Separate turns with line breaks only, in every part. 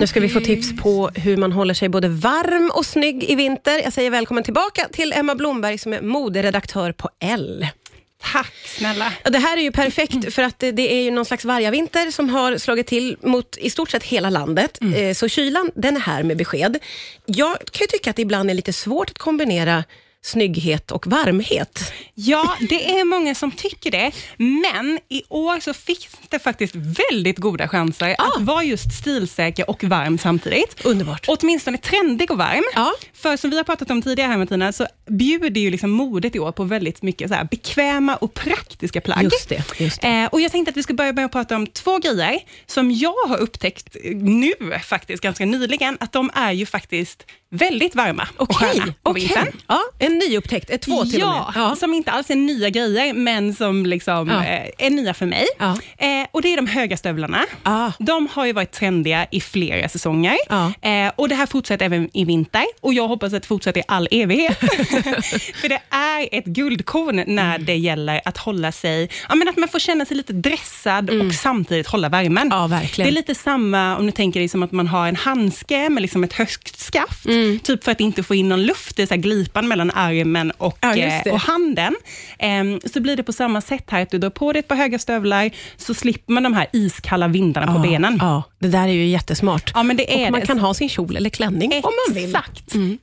Nu ska vi få tips på hur man håller sig både varm och snygg i vinter. Jag säger välkommen tillbaka till Emma Blomberg som är moderedaktör på L.
Tack snälla.
Ja, Det här är ju perfekt för att det- det är ju någon slags vargavinter som har slagit till mot i stort sett hela landet. Eh, Så kylan, den är här med besked. Jag kan ju tycka att det ibland är lite svårt att kombinera snygghet och varmhet.
Ja, det är många som tycker det, men i år så finns det faktiskt väldigt goda chanser
Ah.
att vara just stilsäker och varm samtidigt.
Underbart.
Åtminstone trendig och varm.
Ja.
För som vi har pratat om tidigare här Martina, så bjuder ju liksom modet i år på väldigt mycket så här bekväma och praktiska plagg.
Just det, just det.
Eh, och jag tänkte att vi ska börja med att prata om två grejer som jag har upptäckt eh, nu faktiskt, ganska nyligen, att de är ju faktiskt väldigt varma och sköna på
okej.
vintern.
Ja, en nyupptäckt, ett två till
ja,
och med. Ja.
som inte alls är nya grejer, men som liksom
Ja.
eh, är nya för mig.
Ja.
Eh, och Det är de höga stövlarna.
Ah.
De har ju varit trendiga i flera säsonger.
Ja.
Eh, och Det här fortsätter även i vinter och jag hoppas att det fortsätter i all evighet. för det är ett guldkorn när
Mm.
det gäller att hålla sig... Ja, men att man får känna sig lite dressad och samtidigt hålla värmen.
Mm. Ja, verkligen.
Det är lite samma om du tänker dig som att man har en handske med liksom ett högt skaft,
Mm.
typ för att inte få in någon luft i så här glipan mellan armen och,
Ja, just
eh,
det.
och handen. Ehm, så blir det på samma sätt här, att du drar på dig ett par höga stövlar, så slipper man de här iskalla vindarna på benen.
Ja, det där är ju jättesmart.
Ja, men det är
Ah, och man
det.
kan ha sin kjol eller klänning om man vill. Mm.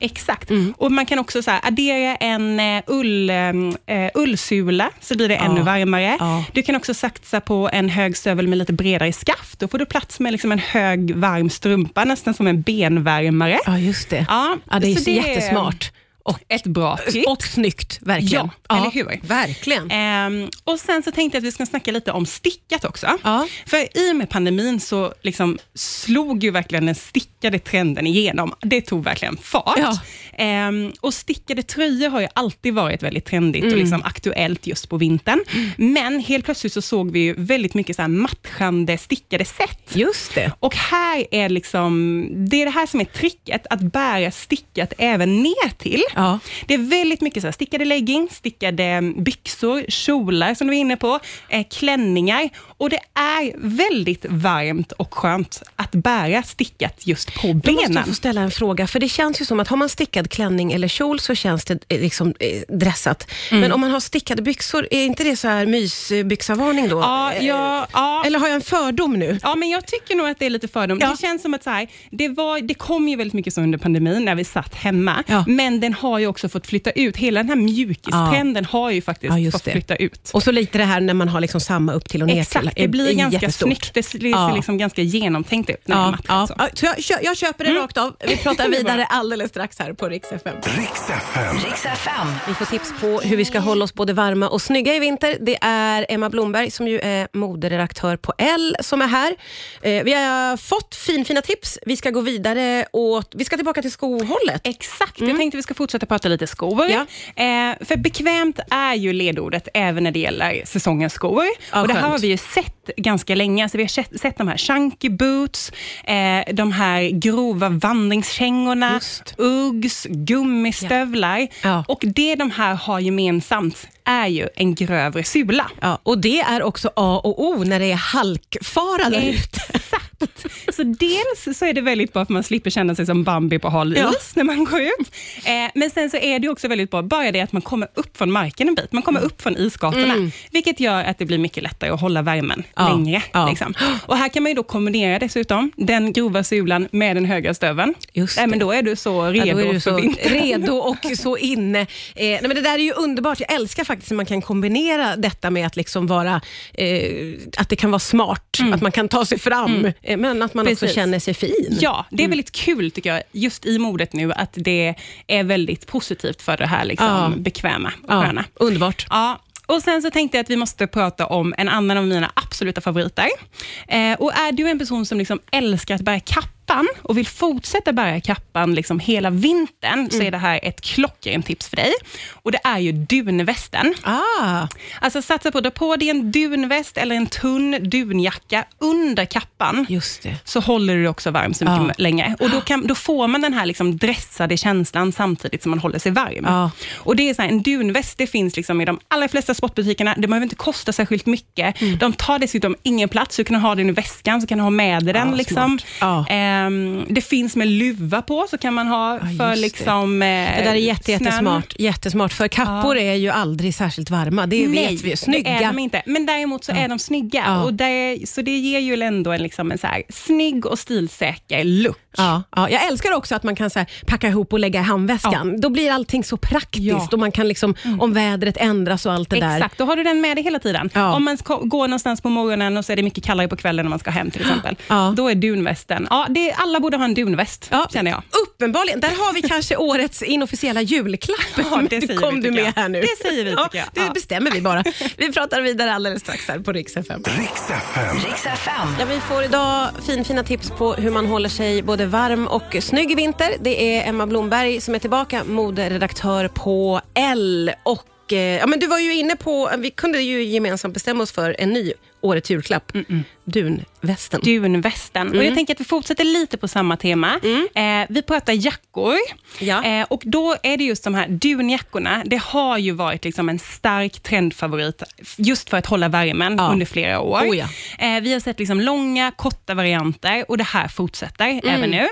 Exakt. Exakt. Och man kan också så här, addera en eh, ull, ehm, eh, ullsula, så blir det
Ah.
ännu varmare.
Ja.
Du kan också satsa på en hög stövel med lite bredare skaft. Då får du plats med liksom en hög varm strumpa, nästan som en benvärmare.
Ja, just det.
Ja,
det är
så det är-
jättesmart. Ah. Och,
Ett bra tips.
och snyggt, verkligen.
Ja, eller hur?
Verkligen.
Ehm, och Sen så tänkte jag att vi ska snacka lite om stickat också.
Ja.
För i och med pandemin så liksom slog ju verkligen den stickade trenden igenom. Det tog verkligen fart.
Ja.
Ehm, och stickade tröjor har ju alltid varit väldigt trendigt
Mm.
och liksom aktuellt just på vintern. Men helt plötsligt så såg vi ju väldigt mycket så här matchande stickade set.
Just det.
Och här är liksom, det är det här som är tricket, att bära stickat även ner till.
Ja.
Det är väldigt mycket så här, stickade leggings, stickade byxor, kjolar som du var inne på, eh, klänningar. Och det är väldigt varmt och skönt att bära stickat just på
Då måste jag
benen.
få ställa en fråga, för det känns ju som att har man stickad klänning eller kjol så känns det eh, liksom eh, dressat. Men om man har stickade byxor, är inte det så här mysbyxavarning då? Eh,
Ja, ja, ja.
Eller har jag en fördom nu?
Ja, men jag tycker nog att det är lite fördom.
Ja.
Det känns som att så här, det, var, det kom ju väldigt mycket så under pandemin, när vi satt hemma,
Ja.
men den har ju också fått flytta ut. Hela den här mjukistrenden har ju faktiskt
Ja, just
fått
det.
flytta ut.
Och så lite det här när man har liksom samma upp till och ner till.
Exakt, det
är- är
blir ganska
jättestort.
snyggt. Det ser
Ja.
liksom ganska genomtänkt ut. När det är
Ja,
matchat
ja.
så.
Ja, så jag, kö- jag köper det rakt av. Vi pratar vidare alldeles strax här på Rix FM.
Riks FM.
Riks FM.
Vi får tips på hur vi ska hålla oss både varma och snygga i vinter. Det är Emma Blomberg som ju är moderedaktör på L som är här. Eh, Vi har fått finfina tips. Vi ska gå vidare och vi ska tillbaka till skohållet.
Exakt, jag tänkte vi ska fortsätta prata lite skor.
Mm. Ja.
Eh, för bekvämt är ju ledordet även när det gäller säsongens skor.
Ja,
och det här
skönt.
har vi ju sett ganska länge. Alltså vi har sett, sett de här chunky boots, eh, de här grova vandringskängorna,
Just.
Uggs, gummistövlar.
Ja.
Och det de här har gemensamt är ju en grövre sula.
Ja, och det är också A och O när det är halkfara där ute.
Exakt. Så dels så är det väldigt bra för man slipper känna sig som Bambi på hal is
Ja.
när man går ut. Eh, men sen så är det också väldigt bra, bara det att man kommer upp från marken en bit, man kommer
Mm.
upp från isgatorna, vilket gör att det blir mycket lättare att hålla värmen
Ja.
längre.
Ja.
Liksom. Och här kan man ju då kombinera dessutom den grova sulan med den höga stöveln.
Just
Nej,
det.
men då är du så redo
Ja, då är du
för
så
vintern.
redo och så inne. Eh, nej, men det där är ju underbart. Jag älskar faktiskt när man kan kombinera detta med att liksom vara, eh, att det kan vara smart, att man kan ta sig fram, eh, men att man också
Mm. Precis.
känner sig fin.
Ja, det är väldigt kul tycker jag, just i modet nu, att det är väldigt positivt för det här liksom,
Ja.
bekväma och
Ja,
sköna.
underbart.
Ja, och sen så tänkte jag att vi måste prata om en annan av mina absoluta favoriter. Eh, och är du en person som liksom älskar att bära kappan och vill fortsätta bära kappan liksom hela vintern, så är det här ett klockrent tips för dig. Och det är ju dunvästen.
Ah,
Alltså satsa på att dra på dig en dunväst eller en tunn dunjacka under kappan
just det.
så håller du dig också varm så mycket
Ja.
längre. Och då, kan, då får man den här liksom dressade känslan samtidigt som man håller sig varm.
Ja.
Och det är så här, En dunväst det finns liksom i de allra flesta sportbutikerna. Det behöver inte kosta särskilt
Mm.
mycket. De tar dessutom ingen plats. Du kan ha den i väskan, så kan du ha med dig den.
Ja,
liksom.
smart. Ja.
Eh, Ehm, det finns med luva på, så kan man ha
Ja,
för
just det.
liksom eh,
Det där är jätte, jättesmart, jättesmart, för kappor är ju aldrig särskilt varma. Det
Nej,
vet vi ju.
det är de
Snygga.
inte. Men däremot så är de snygga.
Ja.
Och det, så det ger ju ändå en, liksom en så här, snygg och stilsäker look.
Ja, ja, jag älskar också att man kan så här, packa ihop och lägga i handväskan. Då blir allting så praktiskt
Ja. Mm.
och man kan liksom, om vädret ändras och allt det där.
Exakt, då har du den med dig hela tiden.
Ja.
Om man ska, går någonstans på morgonen och så är det mycket kallare på kvällen när man ska hem till exempel.
Ja.
Då är dunvästen, ja, det, alla borde ha en dunväst
Ja.
känner jag.
Uppenbarligen. Där har vi kanske årets inofficiella julklapp.
Ja, det säger
kom
vi,
du
tycker
med
jag.
här nu.
Det säger vi,
Ja,
tycker jag.
Det
Ja.
bestämmer vi bara. Vi pratar vidare alldeles strax här på Rix FM.
Riks FM.
Riks FM.
Ja, vi får idag finfina tips på hur man håller sig både varm och snygg i vinter. Det är Emma Blomberg som är tillbaka, moderedaktör på L. Och, eh, ja, men du var ju inne på, vi kunde ju gemensamt bestämma oss för en ny årets julklapp. Dunvästen.
Dunvästen. Och
Mm.
jag tänker att vi fortsätter lite på samma tema. Eh, vi pratar jackor.
Ja.
Eh, och då är det just de här dunjackorna. Det har ju varit liksom en stark trendfavorit just för att hålla värmen
Ja.
under flera år.
Oh ja.
eh, vi har sett liksom långa, korta varianter och det här fortsätter
Mm.
även nu.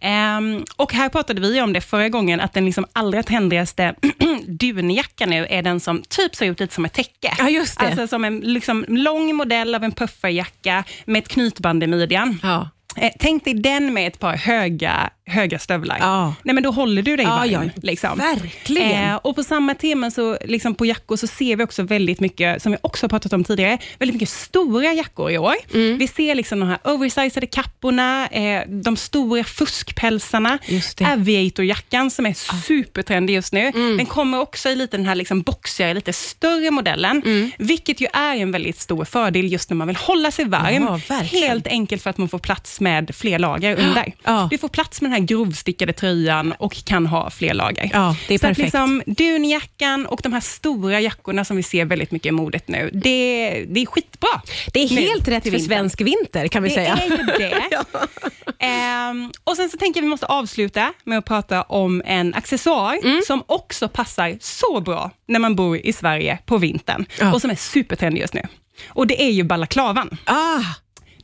Ehm, och här pratade vi om det förra gången, att den liksom allra trendigaste dunjackan nu är den som typ ser ut lite som ett täcke.
Ja, just det.
Alltså som en liksom, lång modell av en pufferjacka med ett knytband i midjan.
Ja.
Eh, tänk dig den med ett par höga, höga stövlar.
Ja.
Nej, men då håller du dig
Ja,
varm.
ja,
liksom.
verkligen.
Eh, och på samma tema, så, liksom på jackor, så ser vi också väldigt mycket, som vi också har pratat om tidigare, väldigt mycket stora jackor i år.
Mm.
Vi ser liksom de här oversizade kapporna, eh, de stora fuskpälsarna,
Just det. Mm.
aviatorjackan som är supertrendig just nu. Den kommer också i lite den här liksom boxigare, lite större modellen,
Mm.
vilket ju är en väldigt stor fördel just när man vill hålla sig varm.
Ja, verkligen.
Helt enkelt för att man får plats med fler lager under.
Ja.
Du får plats med den här grovstickade tröjan och kan ha fler lager.
Ja, det är
Så att
perfekt.
liksom dunjackan och de här stora jackorna som vi ser väldigt mycket i modet nu, det, det är skitbra.
Det är
Nu
helt
till
rätt för
vintern.
svensk vinter kan vi
Det
säga.
är ju det. Ehm, och sen så tänker jag vi måste avsluta med att prata om en accessoar
Mm.
som också passar så bra när man bor i Sverige på vintern
Ja.
och som är supertrendig just nu. Och det är ju balaklavan.
Ah,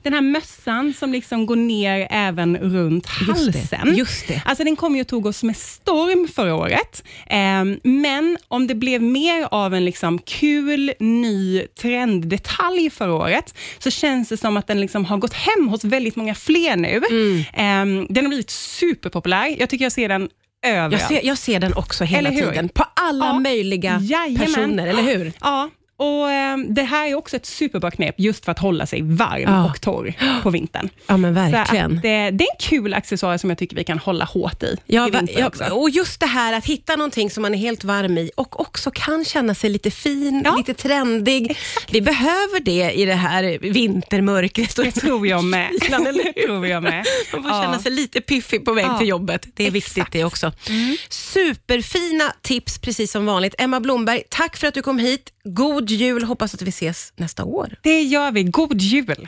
Den här mössan som liksom går ner även runt halsen.
det, just det.
Alltså den kom ju och tog oss med storm förra året. Ehm, men om det blev mer av en liksom kul, ny trenddetalj förra året, så känns det som att den liksom har gått hem hos väldigt många fler nu.
Mm.
Ehm, den har blivit superpopulär. Jag tycker jag ser den
jag,
överallt.
ser, jag ser den också hela
Eller hur?
tiden. På alla
Ja.
möjliga
Jajamän.
personer, eller hur?
Ja. Och ehm, Det här är också ett superbra knep just för att hålla sig varm
Ja.
och torr på vintern.
Ja, men
Så
verkligen.
att, eh, det är en kul accessoar som jag tycker vi kan hålla hårt i.
Ja,
i
va-
vinter
ja,
också.
och just det här att hitta någonting som man är helt varm i och också kan känna sig lite fin,
Ja.
lite trendig. Vi behöver det i det här vintermörkret.
Det tror jag med. det tror jag med.
Man får
Ja.
känna sig lite piffig på väg
Ja. Mm.
till jobbet. Det är viktigt det också. Superfina tips precis som vanligt. Emma Blomberg, tack för att du kom hit. God jul. Hoppas att vi ses nästa år.
Det gör vi. God jul!